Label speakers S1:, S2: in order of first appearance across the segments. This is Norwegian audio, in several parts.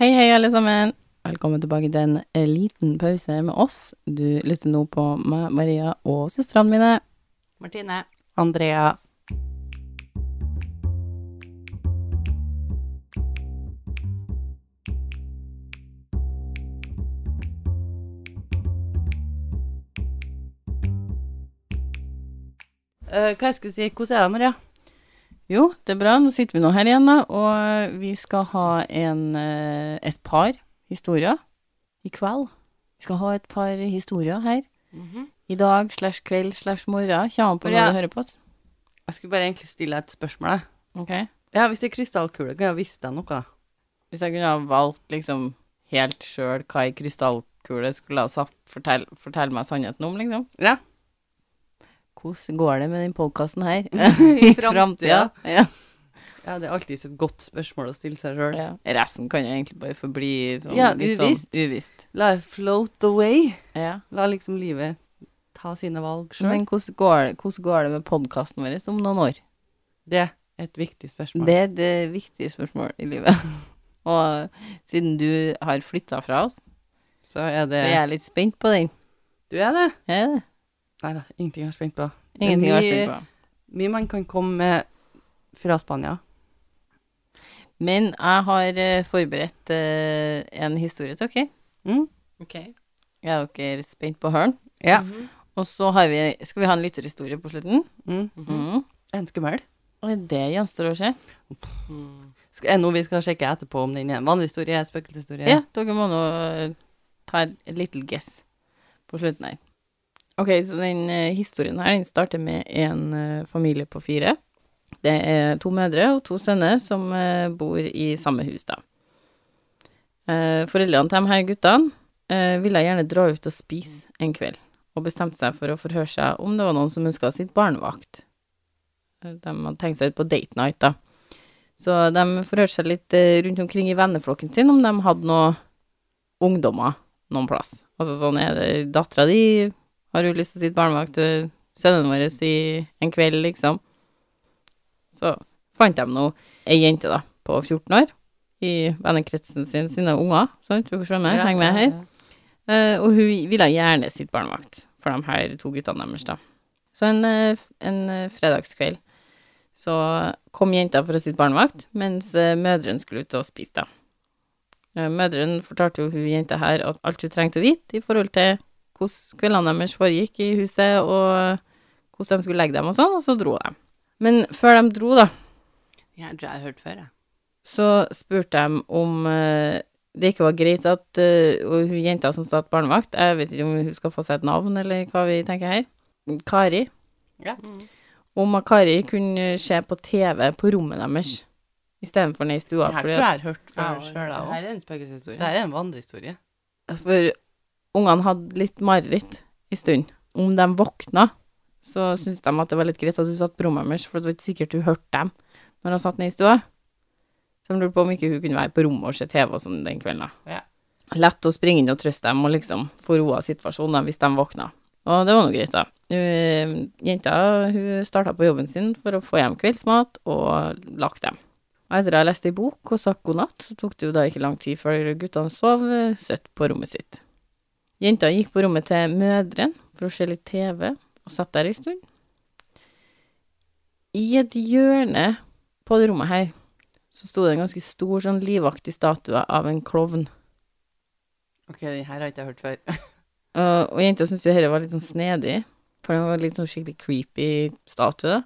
S1: Hei, hei, alle sammen. Velkommen tilbake til en eh, liten pause med oss. Du lytter nå på meg, Maria, og søstrene mine.
S2: Martine.
S1: Andrea.
S2: Eh, hva jeg skulle si, hvordan er det, Maria?
S1: Jo, det er bra. Nå sitter vi nå her igjen, da, og vi skal ha en, eh, et par historier i kveld. Vi skal ha et par historier her.
S2: Mhm.
S1: I dag slash kveld slash morgen. Kjem an på når
S2: Maria.
S1: du hører på oss.
S2: Jeg skulle bare egentlig stille deg et spørsmål. jeg.
S1: Ok.
S2: Ja, Hvis det er krystallkule, kan jeg vise deg noe? da?
S1: Hvis jeg kunne ha valgt liksom helt sjøl hva ei krystallkule skulle ha sagt, fortell, fortell meg sannheten om, liksom.
S2: Ja.
S1: Hvordan går det med den podkasten her?
S2: I
S1: Framtida. Ja.
S2: Ja, Det er alltid et godt spørsmål å stille seg sjøl.
S1: ja. Resten kan jo egentlig bare forbli sånn,
S2: Ja,
S1: litt sånn
S2: uvisst.
S1: uvisst.
S2: La it float away.
S1: Ja.
S2: La liksom livet ta sine valg sjøl.
S1: Men hvordan går, hvordan går det med podkasten vår om noen år?
S2: Det er et viktig spørsmål.
S1: Det er det viktige spørsmålet i livet. Og siden du har flytta fra oss,
S2: Så er
S1: så
S2: det
S1: jeg er litt spent på den.
S2: Du er det?
S1: Er det?
S2: Nei da, ingenting jeg er spent på. Det er
S1: Ingenting å være
S2: mye-
S1: spent på.
S2: Mye man kan komme med fra Spania.
S1: Men jeg har eh, forberedt eh, en historie til dere.
S2: Mm?
S1: Er dere spent på å høre den?
S2: Ja.
S1: Og så har vi, skal vi ha en lytterhistorie på slutten.
S2: Mm.
S1: Mhm.
S2: Er den skummel?
S1: Og det gjenstår å se.
S2: Sk- Er det noe vi skal sjekke etterpå om den er en vandrehistorie, spøkelseshistorie?
S1: Ja, dere må nå eh, ta en little guess på slutten her. Ok, så den eh, historien her, den starter med en eh, familie på fire. Det er to mødre og to sønner som eh, bor i samme hus da. Eh, foreldrene til de her guttene eh, ville gjerne dra ut og spise en kveld, og bestemte seg for å forhøre seg om det var noen som ønsket sitt barnevakt. Eh, De hadde tenkt seg ut på date night da. Så de forhørte seg litt eh, rundt omkring i venneflokken sin om de hadde noen ungdommer noen plass. Altså sånn er det dattera di har jo lyst til sitt barnevakt til sønnen vår i en kveld, liksom. Så fant de nå ei jente, da, på 14 år, i vennekretsen sin sine unger, sant, du skjønner, heng med her. Eh, og hun ville gjerne sitt barnevakt for de her to guttene deres, da. Så en, eh, f- en eh, fredagskveld så kom jenta for å sitte barnevakt, mens eh, mødrene skulle ut og spise, da. Eh, Mødrene fortalte jo hun jenta her at alt hun trengte å vite i forhold til hvordan kveldene deres foregikk i huset, og hvordan de skulle legge dem og sånn, og så dro de. Men før de dro, da,
S2: Ja, det har jeg hørt før, jeg.
S1: så spurte de om eh, det ikke var greit at eh, Og hun jenta som satt barnevakt, jeg vet ikke om hun skal få seg et navn, eller hva vi tenker her, Kari,
S2: Ja.
S1: om at Kari kunne se på TV på rommet deres istedenfor ned i stua.
S2: Det her
S1: fordi at-
S2: tror jeg jeg har hørt før
S1: Ja,
S2: sjøl,
S1: det
S2: jeg
S1: her
S2: òg.
S3: er en spøkelseshistorie.
S2: Det her er en vandrehistorie.
S1: For ungene hadde litt mareritt i stund. Om de våkna, så syntes de at det var litt greit at hun satt på rommet deres, for det var ikke sikkert hun hørte dem når hun satt ned i stua. Så de lurte på om ikke hun kunne være på rommet og se TV og sånn den kvelden. da.
S2: Ja.
S1: Lett å springe inn og trøste dem og liksom få roa situasjonen da, hvis de våkna. Og det var nå greit, da. Hun, eh, jenta hun starta på jobben sin for å få hjem kveldsmat og lagt dem. Og etter å ha lest ei bok og sagt god natt, så tok det jo da ikke lang tid før guttene sov eh, søtt på rommet sitt. Jenta gikk på rommet til mødren for å se litt TV, og satt der ei stund. I et hjørne på det rommet her, så sto det en ganske stor, sånn livaktig statue av en klovn.
S2: Ok, den her har jeg ikke hørt før.
S1: Og, Eh, og jenta syntes jo dette var litt sånn snedig, for det var litt sånn skikkelig creepy statue.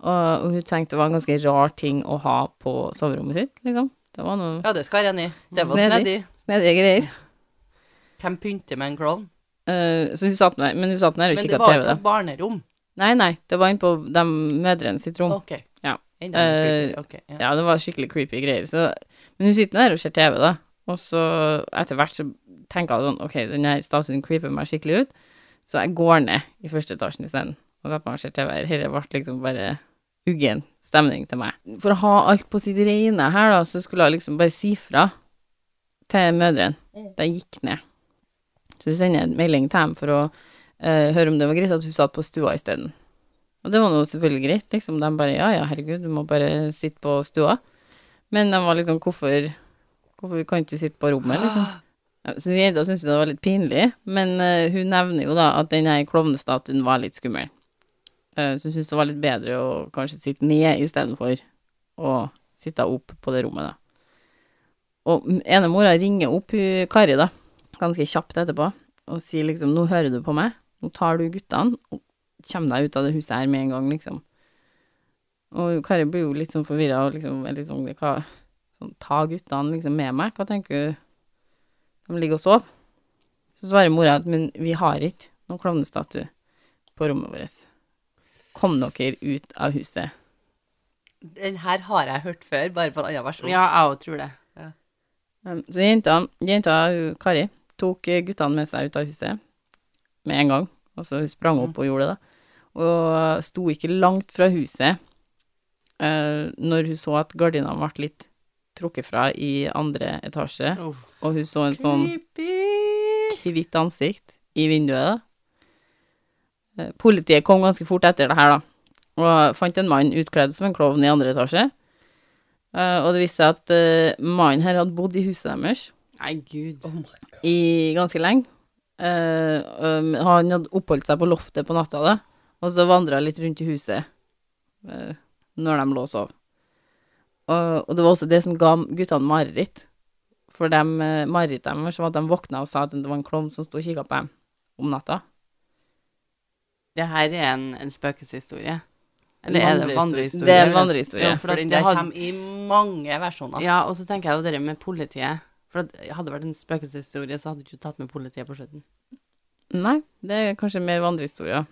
S1: Og, og hun tenkte det var en ganske rar ting å ha på soverommet sitt, liksom. Det var noe
S2: Ja, det skal jeg enig i. Det var
S1: Snedig.
S2: snedig.
S1: snedige greier.
S2: Hvem pynter med en klovn?
S1: Eh, så hun satt der, men hun satt der og
S2: Men det
S1: kikka
S2: var
S1: TV,
S2: jo
S1: da.
S2: på et barnerom.
S1: Nei, nei, det var inne på de mødrene sitt rom.
S2: Ok.
S1: Ja.
S2: Enda
S1: Eh,
S2: mer creepy. Ok, ja.
S1: Ja, det var skikkelig creepy greier. Så, men hun sitter nå her og ser TV, da. Og så etter hvert så tenker jeg sånn, ok, den her statuen creeper meg skikkelig ut, så jeg går ned i første etasjen isteden. Og setter meg og ser TV her. Dette ble liksom bare uggen stemning til meg. For å ha alt på sitt rene her, da, så skulle jeg liksom bare si fra til mødrene. Da jeg gikk ned. Så hun sender en melding til dem for å eh, høre om det var greit at hun satt på stua isteden. Og det var nå selvfølgelig greit, liksom. De bare ja, ja, herregud, du må bare sitte på stua. Men de var liksom hvorfor Hvorfor vi kan ikke sitte på rommet, liksom? Ja, Så jenta syntes jo det var litt pinlig, men eh, hun nevner jo da at den her klovnestatuen var litt skummel. Eh, så hun syntes det var litt bedre å kanskje sitte ned istedenfor å sitte opp på det rommet, da. Og m- ene mora ringer opp hun Kari, da, ganske kjapt etterpå, og sier liksom 'Nå hører du på meg. Nå tar du guttene og kommer deg ut av det huset her med en gang', liksom. Og Kari blir jo litt sånn forvirra og liksom er litt sånn hva, sånn, 'Ta guttene liksom med meg', hva tenker du? De ligger og sover. Så svarer mora at men vi har ikke noen klovnestatue på rommet vårt. Kom dere ut av huset.
S2: Den her har jeg hørt før, bare på en annen versjon.
S1: Ja,
S2: jeg òg tror det.
S1: Um, Så jenta, jenta hun, Kari, tok eh, guttene med seg ut av huset med en gang. Altså hun sprang opp og gjorde det, da. Og sto ikke langt fra huset eh, når hun så at gardinene ble litt trukket fra i andre etasje, og hun så en sånn
S2: Creepy!
S1: hvitt ansikt i vinduet. da. Eh, Politiet kom ganske fort etter det her, da, og fant en mann utkledd som en klovn i andre etasje. Eh, Og det viste seg at eh, mannen her hadde bodd i huset deres
S2: Nei, gud.
S1: i ganske lenge. Eh, um, han hadde oppholdt seg på loftet på natta, da, og så vandra litt rundt i huset eh, når de lå og sov. Og, og det var også det som ga guttene mareritt. For dem, eh, marerittet deres var at de våkna og sa at det var en klovn som sto og kikka på dem om natta.
S2: Det her er en, en spøkelseshistorie.
S1: En
S2: Eller er det
S1: vandrehistorie.
S2: vandrehistorie?
S1: Det er en
S2: eller?
S1: vandrehistorie.
S2: Ja, for
S1: For
S2: at
S1: den
S2: det
S1: der
S2: hadde...
S1: kommer
S2: kommer i mange versjoner. Ja, og så tenker jeg jo det med politiet. For at hadde det vært en spøkelseshistorie, så hadde du ikke tatt med politiet på slutten.
S1: Nei, det er kanskje mer vandrehistorier.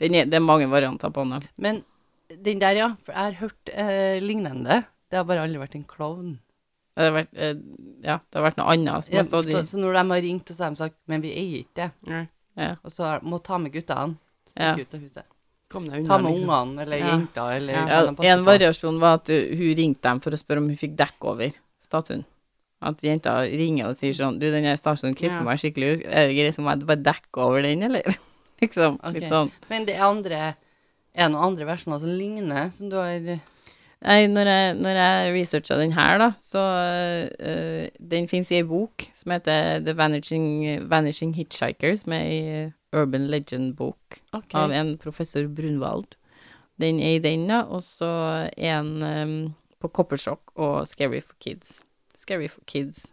S1: Den er- Det er mange varianter på den.
S2: Men den der, ja. For jeg har hørt eh, lignende. Det har bare aldri vært en klovn.
S1: Det har vært, eh, ja, det har vært noe annet som
S2: Ja,
S1: har stått i
S2: så, så når de har ringt, og så har de sagt 'men vi eier ikke det',
S1: ja.
S2: og så har- må ta med guttene,
S1: Ja.
S2: stikke ut av huset.
S3: Kom deg
S2: Ta
S3: unna,
S2: med
S3: liksom.
S2: ungene eller
S3: Ja.
S2: jenta eller
S3: Ja.
S2: hva
S1: Ja,
S2: de passer
S1: en
S2: på.
S1: variasjon var at uh, hun ringte dem for å spørre om hun fikk dekk over statuen. At jenta ringer og sier sånn Du, den her statuen
S3: Ja.
S1: kryper meg skikkelig ut. Er det greit om jeg bare dekker over den, eller? liksom.
S2: Ok.
S1: Litt sånn.
S2: Men det er andre er det noen andre versjoner som ligner, som du har
S1: Nei, når jeg, når jeg researcha den her, da, så øh, Den fins i ei bok som heter The Vanishing, Vanishing Hitchhiker, som er ei urban legend-bok
S2: Ok.
S1: av en professor Brunwald. Den er i den, da, og så en øhm, på Coppershock og Scary for Kids. Scary for Kids.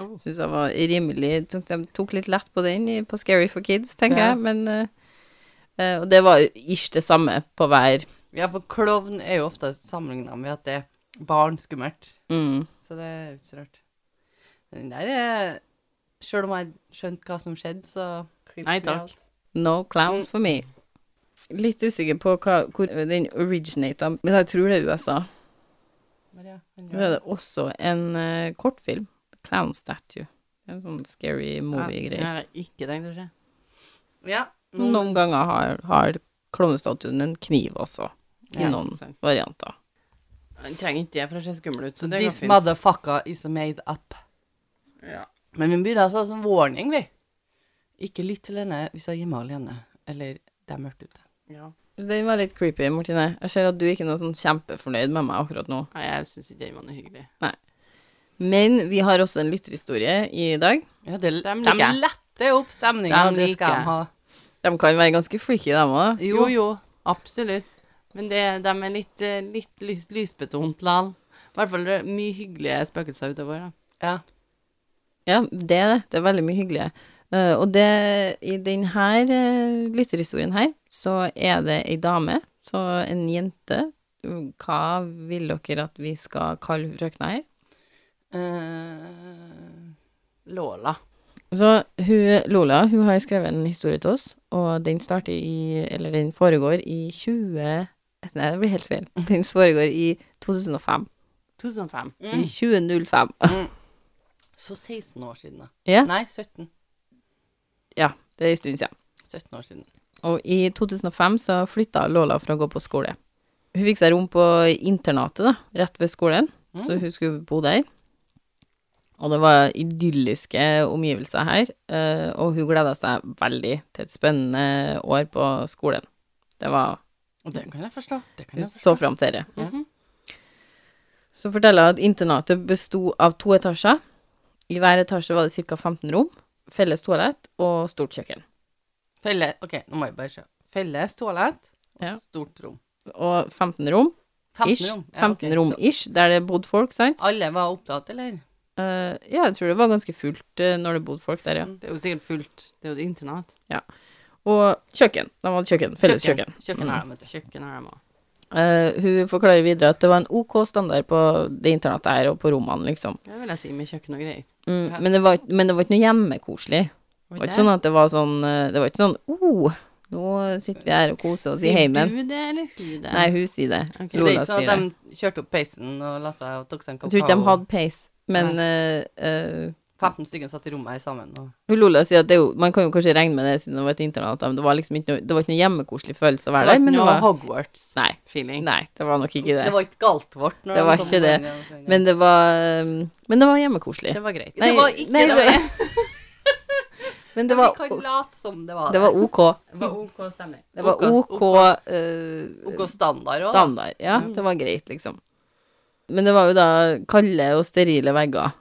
S3: Oh.
S1: Syns jeg var rimelig tok, De tok litt lett på den i- på Scary for Kids, tenker
S2: Ja.
S1: jeg, men øh, øh, Og det var ish det samme på hver.
S2: Ja, for klovn er jo ofte sammenligna med at det er barn skummelt.
S1: Mm.
S2: Så det er jo ikke så rart. Men den der er Sjøl om jeg skjønte hva som skjedde, så klippet
S3: Nei,
S2: vi
S3: takk.
S2: alt.
S1: No clowns for me. Litt usikker på hva, hvor den originata, men jeg tror det er USA.
S2: Maria, men
S1: Så
S2: ja.
S1: er det også en eh, kortfilm, Clown Statue. En sånn scary
S3: Det
S1: movie-greie.
S3: har jeg ikke tenkt å se.
S2: ja.
S1: Noen ganger har, har klovnestatuen en kniv også, i
S3: Ja,
S1: noen
S3: sant.
S1: varianter.
S3: Jeg trenger ikke det for å se skummel ut, så det
S2: This
S3: går fint.
S2: motherfucker is made up.
S3: Ja.
S2: Men vi begynner altså som warning, vi. Ikke lytt til henne hvis du er hjemme alene, eller det er mørkt ute.
S3: Ja.
S1: Den var litt creepy, Martine. Jeg ser at du ikke er noe sånn kjempefornøyd med meg akkurat nå.
S3: Nei, jeg syns ikke den var noe hyggelig.
S1: Men vi har også en lytterhistorie i dag.
S2: Ja, det, de,
S3: liker jeg.
S2: letter opp stemninga,
S3: Dem
S2: det skal
S3: liker jeg.
S2: de ha.
S1: De kan være ganske freaky, dem òg.
S3: Jo, jo, absolutt. Men det, de er litt, eh, litt lys, lysbetont lal. I hvert fall det er mye hyggelige spøkelser utover. Da.
S2: Ja.
S1: Ja, det er det. Det er veldig mye hyggeligere. Eh, og det, i denne lytterhistorien her, så er det ei dame, så en jente. Hva vil dere at vi skal kalle hun frøkna her?
S2: Eh, Lola.
S1: Så hun, Lola hun har skrevet en historie til oss, og den starter i Eller den foregår i 20... Nei, det blir helt feil. Den foregår i 2005.
S3: 2005.
S2: Mm.
S1: I 2005.
S3: Mm.
S2: Så 16 år siden, da.
S1: Ja.
S2: Nei, 17.
S1: Ja, det er en stund siden.
S2: 17 år siden.
S1: Og i 2005 så flytta Lola for å gå på skole. Hun fikk seg rom på internatet, da, rett ved skolen, så hun skulle bo der. Og det var idylliske omgivelser her, eh, og hun gleda seg veldig til et spennende år på skolen. Det var
S2: Og det kan jeg forstå. Det kan
S1: Hun
S2: jeg forstå.
S1: så
S2: Mhm.
S1: fram til det.
S2: Ja.
S1: Så forteller jeg at internatet besto av to etasjer, I hver etasje var det ca. 15 rom, felles toalett og stort kjøkken.
S2: Felle, ok, nå må jeg bare se. Felles toalett og
S1: Ja.
S2: stort rom.
S1: Og 15 rom,
S2: 15
S1: ish,
S2: rom. Ja,
S1: 15
S2: ok,
S1: rom
S2: så
S1: ish, der det bodde folk, sant?
S2: Alle var opptatt, eller?
S1: Eh, ja, jeg tror det var ganske fullt eh, når det bodde folk der,
S2: Mm.
S1: ja.
S3: Det er jo sikkert fullt. Det er jo et internat.
S1: Og kjøkken. De hadde kjøkken, felles kjøkken.
S2: Kjøkken
S1: Mm.
S2: har de, vet du.
S3: Kjøkken har de òg.
S1: Eh, hun forklarer videre at det var en OK standard på det internatet her og på rommene, liksom.
S3: Det vil jeg si, med kjøkken og greier.
S1: Mm,
S2: Ja.
S1: men, det var, men det var ikke noe hjemmekoselig. Det var ikke sånn at det var sånn eh, Det var ikke sånn oh, nå sitter vi her og koser oss i heimen.
S3: du det, eller hun det?
S1: Nei, hun sier det.
S3: Ok.
S2: Så det er
S1: Lola
S2: ikke
S1: sier
S2: sånn
S1: det.
S2: at de kjørte opp peisen og la seg og tok seg en
S1: Jeg
S2: kakao?
S1: tror ikke de hadde peis, men eh, eh,
S2: 15 stykker satt i rommet her sammen. Og...
S1: hun Lola sier at det er jo, man kan jo kanskje regne med det siden det var et internat, men det var liksom ikke noe, det var ikke noe hjemmekoselig følelse å
S3: det
S1: være
S3: var
S1: der. Men
S3: ikke
S1: det
S3: noe
S1: var, nei,
S3: Hogwarts-feeling.
S1: nei, det var nok ikke
S2: Det
S1: det.
S2: var ikke galt vårt. når
S1: Det
S2: de
S1: var
S2: kom
S1: ikke
S2: på
S1: det.
S2: den gangen. sånn.
S1: Men det var, eh, men det var hjemmekoselig.
S3: Det var greit.
S2: Det var ikke
S1: nei,
S2: det.
S1: men det
S2: Men
S1: var,
S2: Vi kan late som det var
S1: det var OK.
S3: Det var OK stemning.
S1: Det var
S2: OK,
S1: OK, eh,
S2: OK standard òg.
S1: standard. Ja, det var greit, liksom. Men det var jo da kalde og sterile vegger.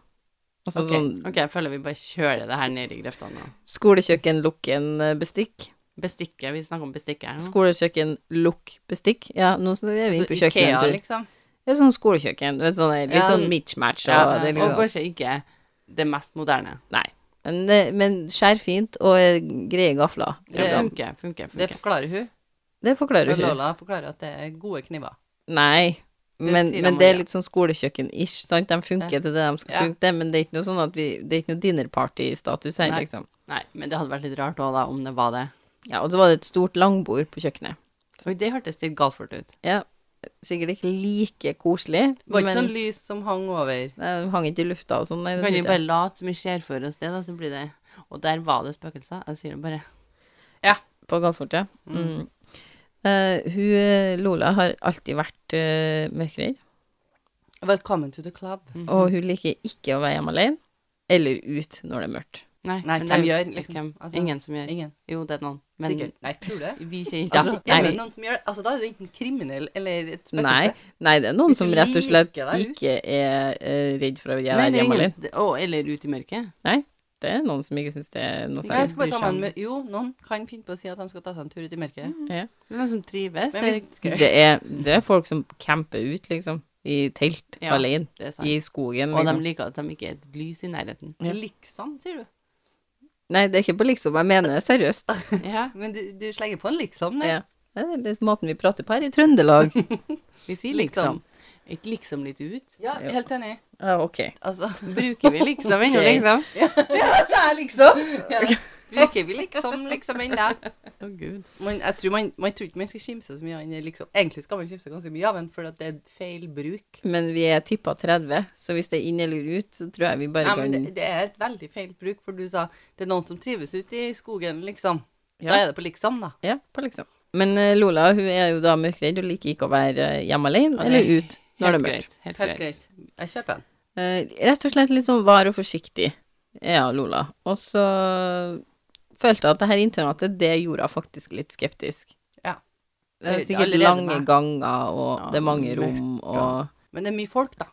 S1: Altså
S3: Ok,
S1: sånn
S3: ok, jeg føler vi bare kjører det her ned i grøftene. nå.
S1: skolekjøkken, lukk en eh, bestikk.
S3: Bestikket, vi snakker om bestikket her nå.
S1: Skolekjøkken, lukk bestikk. Ja, nå så er vi inne på
S2: Ikea,
S1: kjøkkenet.
S2: liksom.
S1: Det er sånn skolekjøkken. Du vet, sånn, litt
S2: Ja.
S1: sånn mismatch. Og,
S3: Ja,
S1: det er liksom,
S3: og kanskje ikke det mest moderne.
S1: nei. Men, det- men skjær fint og eh, greie gafler.
S3: Det
S1: liksom.
S3: funker, funker,
S2: Det
S3: funker.
S2: forklarer hun.
S1: Det forklarer
S2: Og
S1: hun.
S2: Lola forklarer at det er gode kniver.
S1: Nei.
S3: Det
S1: Men,
S3: sier de
S1: men det er
S3: aldri.
S1: litt sånn skolekjøkken-ish. sant? De funker
S2: Ja.
S1: til det de skal
S2: Ja.
S1: funke til, men det er ikke noe sånn at vi, det er ikke noe dinner party-status her.
S3: Nei.
S1: liksom.
S3: Nei, men det hadde vært litt rart også da, om det var det.
S1: Ja, Og så var det et stort langbord på kjøkkenet.
S3: Oi, det hørtes litt galfort ut.
S1: Ja, Sikkert ikke like koselig,
S2: Det var
S1: men
S2: ikke sånn lys som hang over.
S1: Nei, de hang ikke i lufta og sånn. Nei, det
S3: Kan vi
S1: tror
S3: bare
S1: jeg.
S3: late som vi ser for oss det, da, så blir det Og der var det spøkelser. Jeg sier det bare.
S1: På Galtfortet. Mm. Eh, hun Lola har alltid vært uh, mørkredd,
S2: Welcome to the club.
S1: og hun liker ikke å være hjemme alene eller ut når det er mørkt.
S3: Nei,
S2: Nei,
S3: men
S2: hvem
S3: det er jo
S2: gjør, liksom?
S3: hvem?
S2: Altså,
S3: ingen som gjør.
S2: Ingen.
S3: Jo, det er noen. Men
S2: Sikkert. Nei, tror du det?
S3: vi kjenner ikke
S2: Altså,
S1: nei,
S2: er det
S1: vi-
S2: noen som gjør, altså, da er du enten kriminell eller et spøkelse.
S1: Nei, nei, det er noen
S2: Hvis
S1: som
S2: du
S1: rett og slett
S2: liker deg ut.
S1: ikke er eh, redd for å være
S3: Nei, det er
S1: hjemme alene.
S3: ingen som- Å, eller ut i mørket.
S1: Det er noen som ikke syns det er noe
S2: Nei, jeg
S1: særlig.
S2: skal bare ta meg en
S3: Bryr
S2: mø- Jo, noen kan finne på å si at de skal ta seg en tur ut i mørket.
S3: Det er noen som trives.
S2: Men
S3: det,
S2: hvis, skal,
S1: Det er, det er folk som camper ut, liksom. I telt,
S3: Ja,
S1: alene.
S3: det er sant.
S1: I skogen.
S3: Og de
S1: Liksom.
S3: liker at de ikke er et lys i nærheten.
S1: Ja.
S2: Liksom, sier du.
S1: Nei, det er ikke på liksom, jeg mener det seriøst.
S3: Ja,
S2: Men du, du slenger på en liksom, nei?
S1: Ja. Det er litt måten vi prater på her i Trøndelag.
S3: vi sier liksom. Ikke liksom litt ut.
S2: Ja, helt enig.
S1: Ja, ok.
S2: Altså,
S3: Bruker vi liksom ennå,
S1: Ok.
S3: liksom?
S2: liksom. Ja. Bruker vi liksom, liksom ennå?
S3: Å, gud.
S2: Man, jeg tror man, man tror ikke man skal skimse så mye av den, liksom. Egentlig skal man skimse ganske mye av den, for at det er feil bruk.
S1: Men vi er tippa 30, så hvis det er inn eller ut, så tror jeg vi bare
S2: Ja,
S1: kan
S2: men det, det er et veldig feil bruk, for du sa det er noen som trives ute i skogen, liksom.
S1: Ja.
S2: Da er det på liksom, da.
S1: Ja, på liksom. Men eh, Lola hun er jo da mørkredd og liker ikke å være eh, hjemme alene
S3: Ja, det er
S1: eller ut når det er mørkt.
S3: greit, Helt,
S2: Helt
S3: greit.
S2: greit. Jeg kjøper den.
S1: Eh, rett og slett litt sånn var og forsiktig er ja, Lola. Og så følte jeg at det her internatet, det gjorde jeg faktisk litt skeptisk.
S2: Ja.
S1: Det er
S2: Det-
S1: sikkert
S2: allerede
S1: lange
S2: meg.
S1: ganger, og
S3: Ja,
S1: det er mange
S3: mørkt,
S1: rom, og
S3: ja.
S2: Men det er mye folk, da.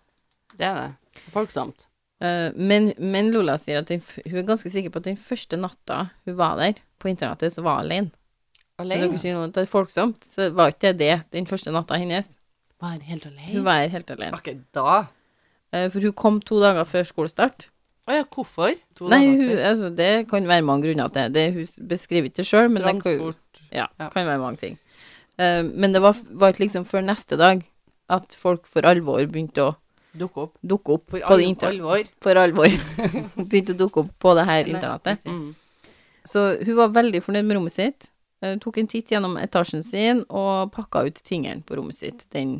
S3: Det er det. Folksomt.
S1: Eh, men, men Lola sier at den, f- hun er ganske sikker på at den første natta hun var der, på internatet, så var hun alene. Så
S2: Alene.
S1: dere sier noe at det er folksomt, så var ikke det det den første natta hennes.
S3: Var helt alene.
S1: Hun var her helt alene.
S2: Ok, da.
S1: Eh, for hun kom to dager før skolestart.
S2: Å ja, hvorfor? To
S1: Nei,
S2: dager
S1: hun,
S2: før.
S1: altså, det kan være mange grunner til det. det. Hun s- beskriver ikke det sjøl, men det kan,
S2: Transport.
S1: ja,
S2: Ja.
S1: kan være mange ting. Eh, men det var, var ikke liksom før neste dag at folk for alvor begynte å
S2: Dukke opp.
S1: dukke opp
S2: For
S1: på det
S2: al
S1: inter-
S2: alvor.
S1: For alvor. begynte å dukke opp på det her internettet.
S3: Mm.
S1: Så hun var veldig fornøyd med rommet sitt. Eh, tok en titt gjennom etasjen sin og pakka ut tingene på rommet sitt den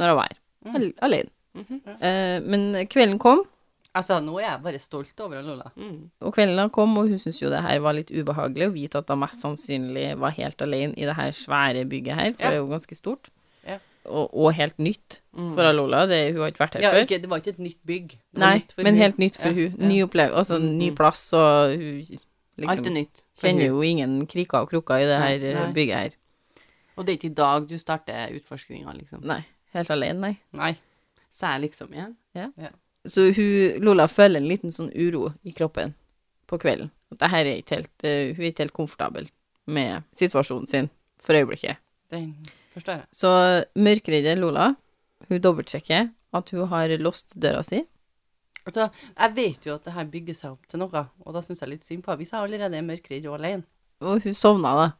S1: når hun var her.
S2: Mm.
S1: Al- Alene.
S2: Mhm.
S1: Eh, men kvelden kom,
S2: Altså, nå er jeg bare stolt over han, Lola.
S3: Mm.
S1: og kvelden da kom, og hun syntes jo det her var litt ubehagelig å vite at hun mest sannsynlig var helt alene i det her svære bygget her, for
S2: Ja.
S1: det er jo ganske stort.
S2: Ja.
S1: Og, og helt nytt
S3: Mm.
S1: for Lola. Det, hun har ikke vært her
S2: Ja,
S1: før.
S2: ikke, det var ikke et nytt bygg. Det var
S1: Nei,
S2: nytt for
S1: men
S2: hun.
S1: helt nytt for
S2: Ja,
S1: hun.
S2: ja.
S1: Ny opplevelse, altså ny
S3: Mm.
S1: plass, og hun liksom
S3: Alt er nytt. for
S1: kjenner
S3: hun.
S1: jo ingen kriker og krukker i det her eh,
S3: Nei.
S1: bygget her.
S3: Og det er ikke i dag du starter utforskninga, liksom.
S1: Nei. Helt alene, nei.
S2: Nei.
S3: Så jeg liksom igjen.
S1: Ja.
S2: Ja.
S1: Så hun, Lola føler en liten sånn uro i kroppen på kvelden. At det her er ikke helt, eh, hun er ikke helt komfortabel med situasjonen sin for øyeblikket.
S2: Den forstår jeg.
S1: Så mørkredde Lola, hun dobbeltsjekker at hun har låst døra si.
S2: Altså, jeg vet jo at det her bygger seg opp til noe, og da syns jeg litt synd på henne. Hvis jeg allerede er mørkredd og alene
S1: Og hun sovna, da.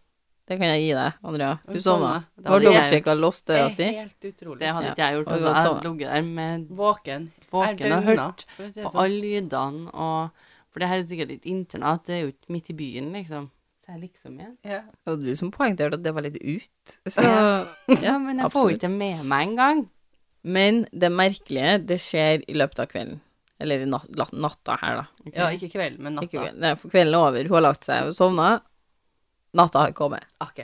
S1: Det kan jeg gi deg, Andrea. Hun sovna. Hun
S2: Det
S1: har
S2: hadde jeg-
S1: dobbeltsjekka låst
S2: det
S1: døra
S2: er
S1: si.
S2: helt utrolig.
S3: Det hadde
S1: Ja.
S3: ikke jeg gjort.
S1: Og
S3: Altså,
S1: så-
S3: jeg
S1: sånn.
S3: hadde ligget der med
S2: Våken. Jeg
S3: våken og
S2: døgna,
S3: hørt
S2: for å si det
S3: på
S2: sånn.
S3: alle lydene og For det her er sikkert et internat, det er jo ikke midt i byen, liksom. Så jeg liksom igjen.
S2: Ja.
S1: Det var du som poengterte at det var litt ut. Så
S3: Ja, men jeg får jo ikke det med meg engang.
S1: Men det merkelige, det skjer i løpet av kvelden. Eller i nat la- natta her, da.
S2: ja, ikke kvelden, men natta.
S1: Ikke kvelden. Nei, for kvelden er over. Hun har lagt seg og sovna. Natta har kommet.
S2: Ok.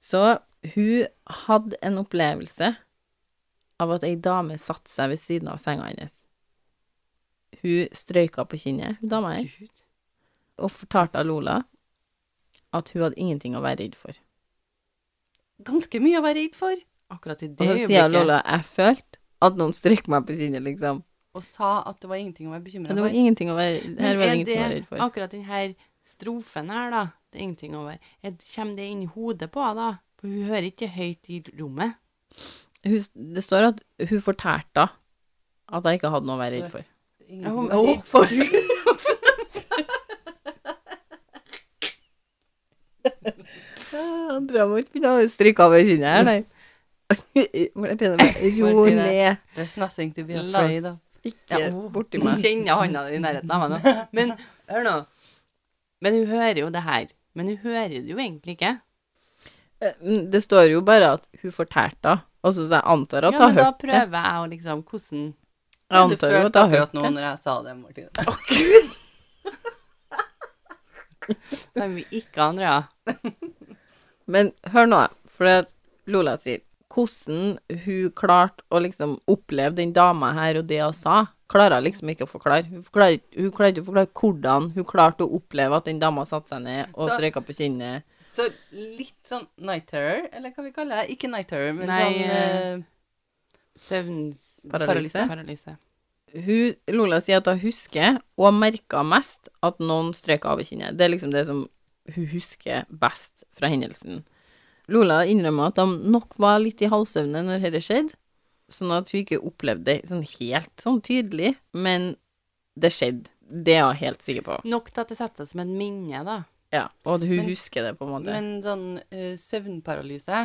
S1: Så hun hadde en opplevelse av at ei dame satte seg ved siden av senga hennes. Hun strøyka på kinnet, hun dama her,
S2: Gud.
S1: og fortalte av Lola at hun hadde ingenting å være redd for.
S2: Ganske mye å være redd for.
S3: Akkurat i det
S1: Og så sier
S3: øyeblikket.
S1: Lola jeg følte at noen strøyk meg på kinnet, liksom.
S2: Og sa at det var ingenting å være bekymra
S1: Men det var
S2: for.
S1: ingenting å være, her var det
S3: er
S1: ingenting å være redd for.
S3: Akkurat denne strofen her, da, det er ingenting over. Er- Kommer det inn i hodet på henne, da? For hun hører ikke høyt i rommet.
S1: Hun, det står at hun fortalte da at jeg ikke hadde noe å være redd for.
S2: Ingenting
S3: Hun,
S2: å være redd
S3: for
S1: Andrea må ikke begynne å stryke av kinnet her, nei. Martine, bare ro
S2: Martine.
S1: ned.
S2: There's nothing to be
S3: La
S2: afraid
S3: oss
S2: of.
S1: Ikke
S3: Ja, oh.
S1: borti
S3: Jeg
S1: meg.
S3: kjenner hånda di i nærheten av meg nå. Men hør nå. Men hun hører jo det her. Men hun hører det jo egentlig ikke.
S1: Eh, men Det står jo bare at hun fortalte det, og så så jeg antar at
S3: Ja,
S1: hun
S3: men
S1: har
S3: da
S1: hørt det.
S3: prøver jeg å liksom Hvordan
S1: Jeg antar jo at hun har hørt
S2: noe
S1: det.
S2: når jeg sa det, Martine.
S3: kan vi ikke, Andrea?
S1: Men hør nå, for at Lola sier hvordan hun klarte å liksom oppleve den dama her og det hun sa, klarer hun liksom ikke å forklare. Hun forklarer ikke- hun klarte ikke å forklare hvordan hun klarte å oppleve at den dama satte seg ned og
S2: Så-
S1: strøyka på kinnet.
S2: Så litt sånn night terror, eller hva vi kaller det? Ikke night terror, men
S3: Nei,
S2: sånn
S3: eh,
S2: eh,
S3: Søvns...
S1: Paralyse?
S3: Paralyse.
S1: Hun, Lola sier at hun husker og merka mest at noen strøyka over kinnet. Det er liksom det som hun husker best fra hendelsen. Lola innrømmer at de nok var litt i halvsøvne når dette skjedde, sånn at hun ikke opplevde det sånn helt sånn tydelig, men det skjedde. Det er hun helt sikker på.
S3: Nok til at det setter seg som et minne, da.
S1: Ja, og at hun
S2: Men-
S1: husker det, på en måte.
S2: Men sånn eh, søvnparalyse,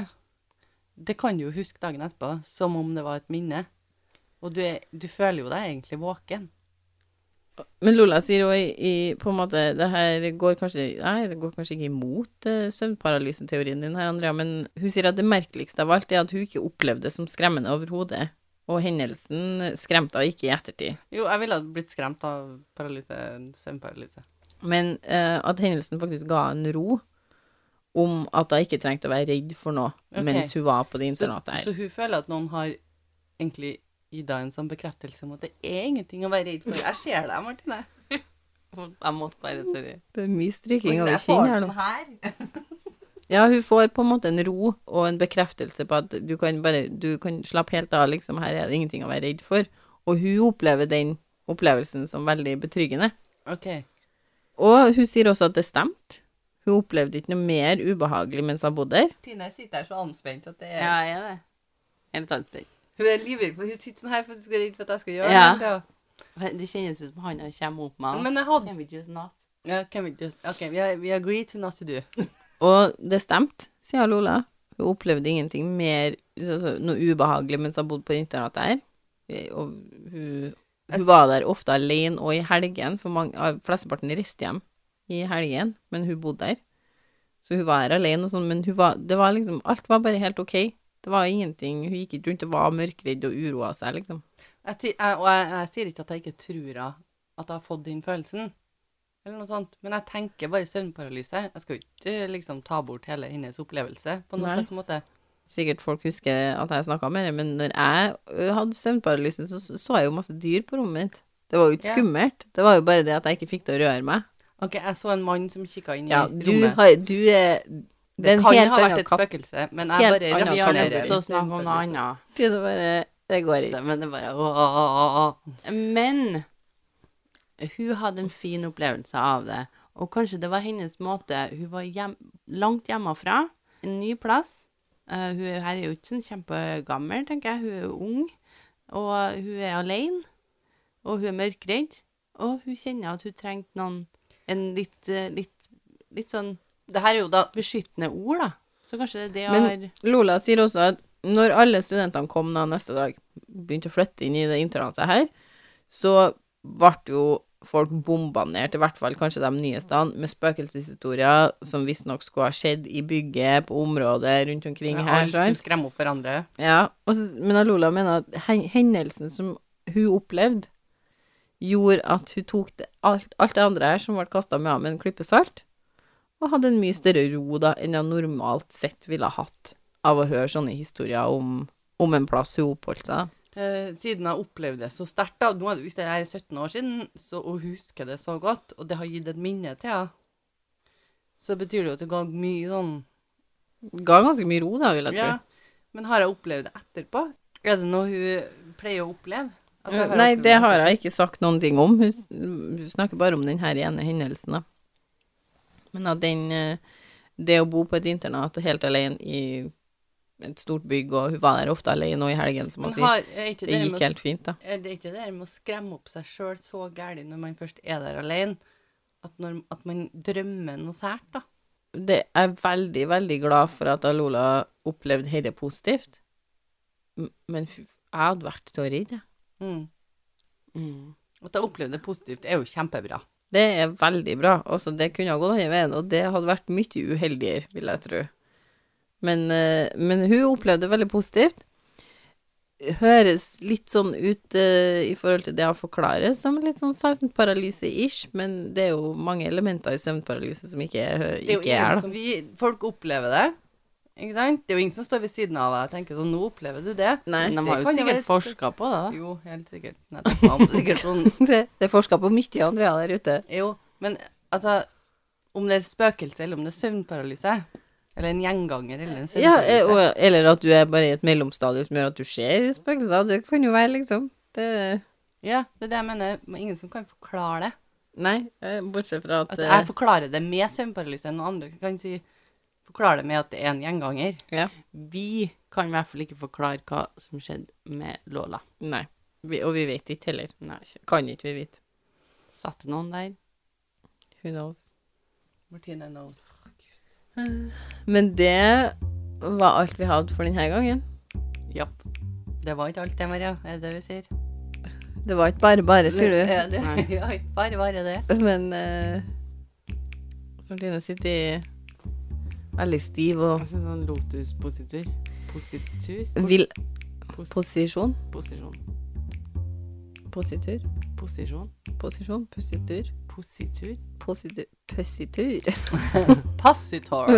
S2: det kan du jo huske dagen etterpå, som om det var et minne. Og du, er, du føler jo deg egentlig våken.
S1: Men Lola sier jo i, i på en måte Det her går kanskje Nei, det går kanskje ikke imot eh, søvnparalyseteorien din her, Andrea, men hun sier at det merkeligste av alt er at hun ikke opplevde det som skremmende overhodet. Og hendelsen skremte henne ikke i ettertid.
S2: Jo, jeg ville ha blitt skremt av paralyse, søvnparalyse.
S1: Men eh, at hendelsen faktisk ga en ro om at hun ikke trengte å være redd for noe
S2: Ok.
S1: mens hun var på det
S2: Så,
S1: internatet her.
S2: så hun føler at noen har egentlig gitt deg en sånn bekreftelse om at det er ingenting å være redd for. Jeg ser deg, Martine.
S3: Jeg måtte bare Sorry.
S1: det er mye stryking
S2: Martine,
S1: over
S2: jeg får
S1: kinnet
S2: det
S1: her nå.
S2: sånn her.
S1: Ja, hun får på en måte en ro og en bekreftelse på at du kan bare Du kan slappe helt av, liksom. Her er det ingenting å være redd for. Og hun opplever den opplevelsen som veldig betryggende.
S2: Ok.
S1: Og hun sier også at det stemte. Hun opplevde ikke noe mer ubehagelig mens hun bodde der.
S2: Tine sitter her så anspent at det er
S3: Ja, jeg er det. Jeg er litt anspent.
S2: Hun er livredd, for hun sitter sånn her for at hun skal være redd for at jeg skal gjøre
S3: Ja.
S2: det.
S3: Det kjennes ut som han har kommer opp med
S2: Men jeg hadde
S3: Can we just not?
S2: ja, can we just, OK, we, are- we agree to not to do.
S1: Og det stemte, sier Lola. Hun opplevde ingenting mer noe ubehagelig mens hun bodde på internatet her. Og hun, hun var der ofte alene og i helgen, for mange, av- flesteparten reiste hjem i helgen, men hun bodde der. Så hun var her alene og sånn, men hun var, det var liksom, alt var bare helt ok. Det var ingenting, hun gikk ikke rundt og var mørkredd og uroa seg, liksom.
S2: Jeg, sier- jeg, og jeg, jeg sier ikke at jeg ikke tror jeg- at jeg har fått den følelsen, eller noe sånt, men jeg tenker bare søvnparalyse. Jeg skal jo ikke liksom ta bort hele hennes opplevelse på
S1: Nei.
S2: noen slags måte.
S1: Sikkert folk husker at jeg snakka med det, men når jeg ø, hadde søvnparalyse, så så jeg jo masse dyr på rommet mitt. Det var jo ikke
S2: Ja.
S1: skummelt, det var jo bare det at jeg ikke fikk det å røre meg.
S2: OK, jeg så en mann som kikka inn
S1: Ja,
S2: i
S1: du,
S2: rommet.
S1: har, du er Det er en
S2: det kan
S1: helt
S2: ha vært
S1: annen
S2: et
S1: katt.
S2: spøkelse, men jeg
S1: Helt
S2: bare
S1: annen
S3: Vi har nødt
S2: rasjonerer.
S3: til å snakke om noe annet.
S1: Det er bare Det går ikke.
S3: liksom. Det- Men det er bare åååå. Men hun hadde en fin opplevelse av det. Og kanskje det var hennes måte Hun var hjem, langt hjemmefra, en ny plass. Eh, hun er- her er jo ikke sånn kjempegammel, tenker jeg. Hun er jo ung. Og hun er alene. Og hun er mørkredd. Og hun kjenner at hun trengte noen En litt, eh, litt, litt sånn
S2: Det her er jo da
S3: beskyttende ord, da. Så kanskje det er det
S1: Men-
S3: har
S1: Lola sier også at når alle studentene kom da neste dag, begynte å flytte inn i det internatet her, så ble jo folk bombardert, i hvert fall kanskje de nyeste, med spøkelseshistorier som visstnok skulle ha skjedd i bygget, på området rundt omkring her.
S2: Alle
S1: sant?
S2: skulle skremme opp hverandre.
S1: Ja, og så, men Lola mener at hen- hendelsen som hun opplevde, gjorde at hun tok det, alt, alt det andre her som ble kasta med henne med en klype salt, og hadde en mye større ro da enn hun normalt sett ville ha hatt av å høre sånne historier om, om en plass hun oppholdt seg. da.
S2: Eh, siden jeg opplevde det så sterkt, da, nå, er det- hvis det er 17 år siden, så, og husker det så godt, og det har gitt et minne til henne, så betyr det jo at det ga mye sånn
S1: Ga ganske mye ro, da, vil jeg
S2: Ja. Men har jeg opplevd det etterpå? Er det noe hun pleier å oppleve? Altså,
S1: tro.
S2: har
S1: Nei,
S2: opplevd
S1: det har jeg ikke sagt noen ting om. Hun, s- hun snakker bare om den her ene hendelsen, da. Men at den eh, det å bo på et internat og helt alene i et stort bygg, og hun var der ofte alene og i helgen, som
S2: Men
S1: hun sier.
S2: har, er
S1: Det
S2: ikke det
S1: gikk
S2: med å
S1: helt fint, da.
S2: Er det ikke det der med å skremme opp seg sjøl så gæli når man først er der alene, at, når, at man drømmer noe sært, da?
S1: Det jeg er veldig, veldig glad for at Lola opplevde dette positivt. M- Men fy- jeg hadde vært så redd, jeg.
S2: Mm.
S3: mm.
S2: At jeg opplevde det positivt, er jo kjempebra.
S1: Det er veldig bra. Altså, det kunne ha gått andre veien, og det hadde vært mye uheldigere, vil jeg tro. Men, eh, men hun opplevde det veldig positivt. Høres litt sånn ut eh, i forhold til det jeg forklarer, som litt sånn søvnparalyse-ish, men det er jo mange elementer i søvnparalyse som ikke er,
S2: Det er jo
S1: ikke er
S2: ingen
S1: da.
S2: som vi, folk opplever det. Ikke sant? Det er jo ingen som står ved siden av deg og tenker sånn Nå opplever du det.
S1: Nei,
S3: Men de
S2: det
S3: har jo
S2: kan jo være
S3: sikkert
S2: et
S3: forska på det, da.
S2: Jo, helt sikkert. Nettopp. Han var sikkert sånn
S1: det, det er forska på mye Andrea der ute.
S2: Jo, men altså Om det er spøkelse, eller om det er søvnparalyse, eller en gjenganger, eller en
S1: Ja, eh,
S2: søvnparalyse
S1: og, eller at du er bare i et mellomstadium som gjør at du ser spøkelser. Det kan jo være, liksom. Det
S2: Ja, det er det jeg mener. Men ingen som kan forklare det.
S1: Nei, eh, bortsett fra at,
S2: At jeg forklarer det med søvnparalyse, og andre kan si Forklare det med at det er en gjenganger.
S3: Vi kan i hvert fall ikke forklare hva som skjedde med Lola.
S1: eh, Nei. Vi, og vi vet ikke heller.
S3: Nei.
S1: Kan ikke vi vite.
S3: Satt det noen der?
S1: Who knows.
S2: Martine knows.
S1: Men det var alt vi hadde for denne gangen.
S3: Ja.
S2: Det var ikke alt det, Maria. Er det det vi sier?
S1: Det var ikke bare bare, sier du.
S2: Ja, det- ja, ikke bare bare det.
S1: Men eh, Martine sitter i veldig stiv og
S3: Jeg synes sånn lotus-positur. Positur? Pos-
S1: Vil-
S3: pos-
S1: posisjon.
S3: posisjon.
S1: Positur.
S3: Posisjon.
S1: Posisjon. Positur.
S3: Positur.
S1: Positur. Positur.
S2: Passitor.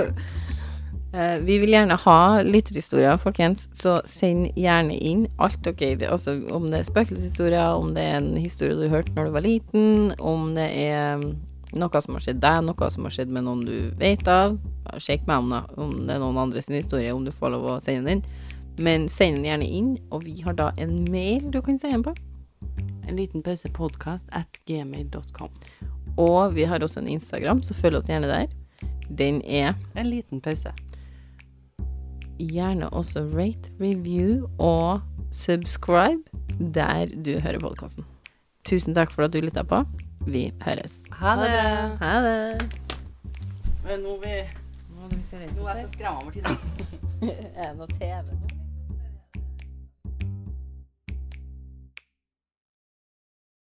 S1: Eh, Vi vil gjerne ha lytterhistorier, folkens, så send gjerne inn alt dere Altså om det er spøkelseshistorier, om det er en historie du hørte når du var liten, om det er mm, noe som har skjedd deg, noe som har skjedd med noen du vet av. Ja, Sjekk meg om, da, om det er noen andre sin historie, om du får lov å sende den inn. Men send den gjerne inn, og vi har da en mail du kan sende den på.
S3: En liten pause podcast at gmail.com.
S1: Og vi har også en Instagram, så følg oss gjerne der. Den er
S2: En liten pause.
S1: gjerne også rate, review og subscribe der du hører podkasten. Tusen takk for at du lytta på. Vi høres.
S2: Ha det.
S1: Ha det.
S2: Men nå, vi,
S3: Nå må du se
S2: nå er jeg så skramma, Martine.
S1: Er det noe TV nå?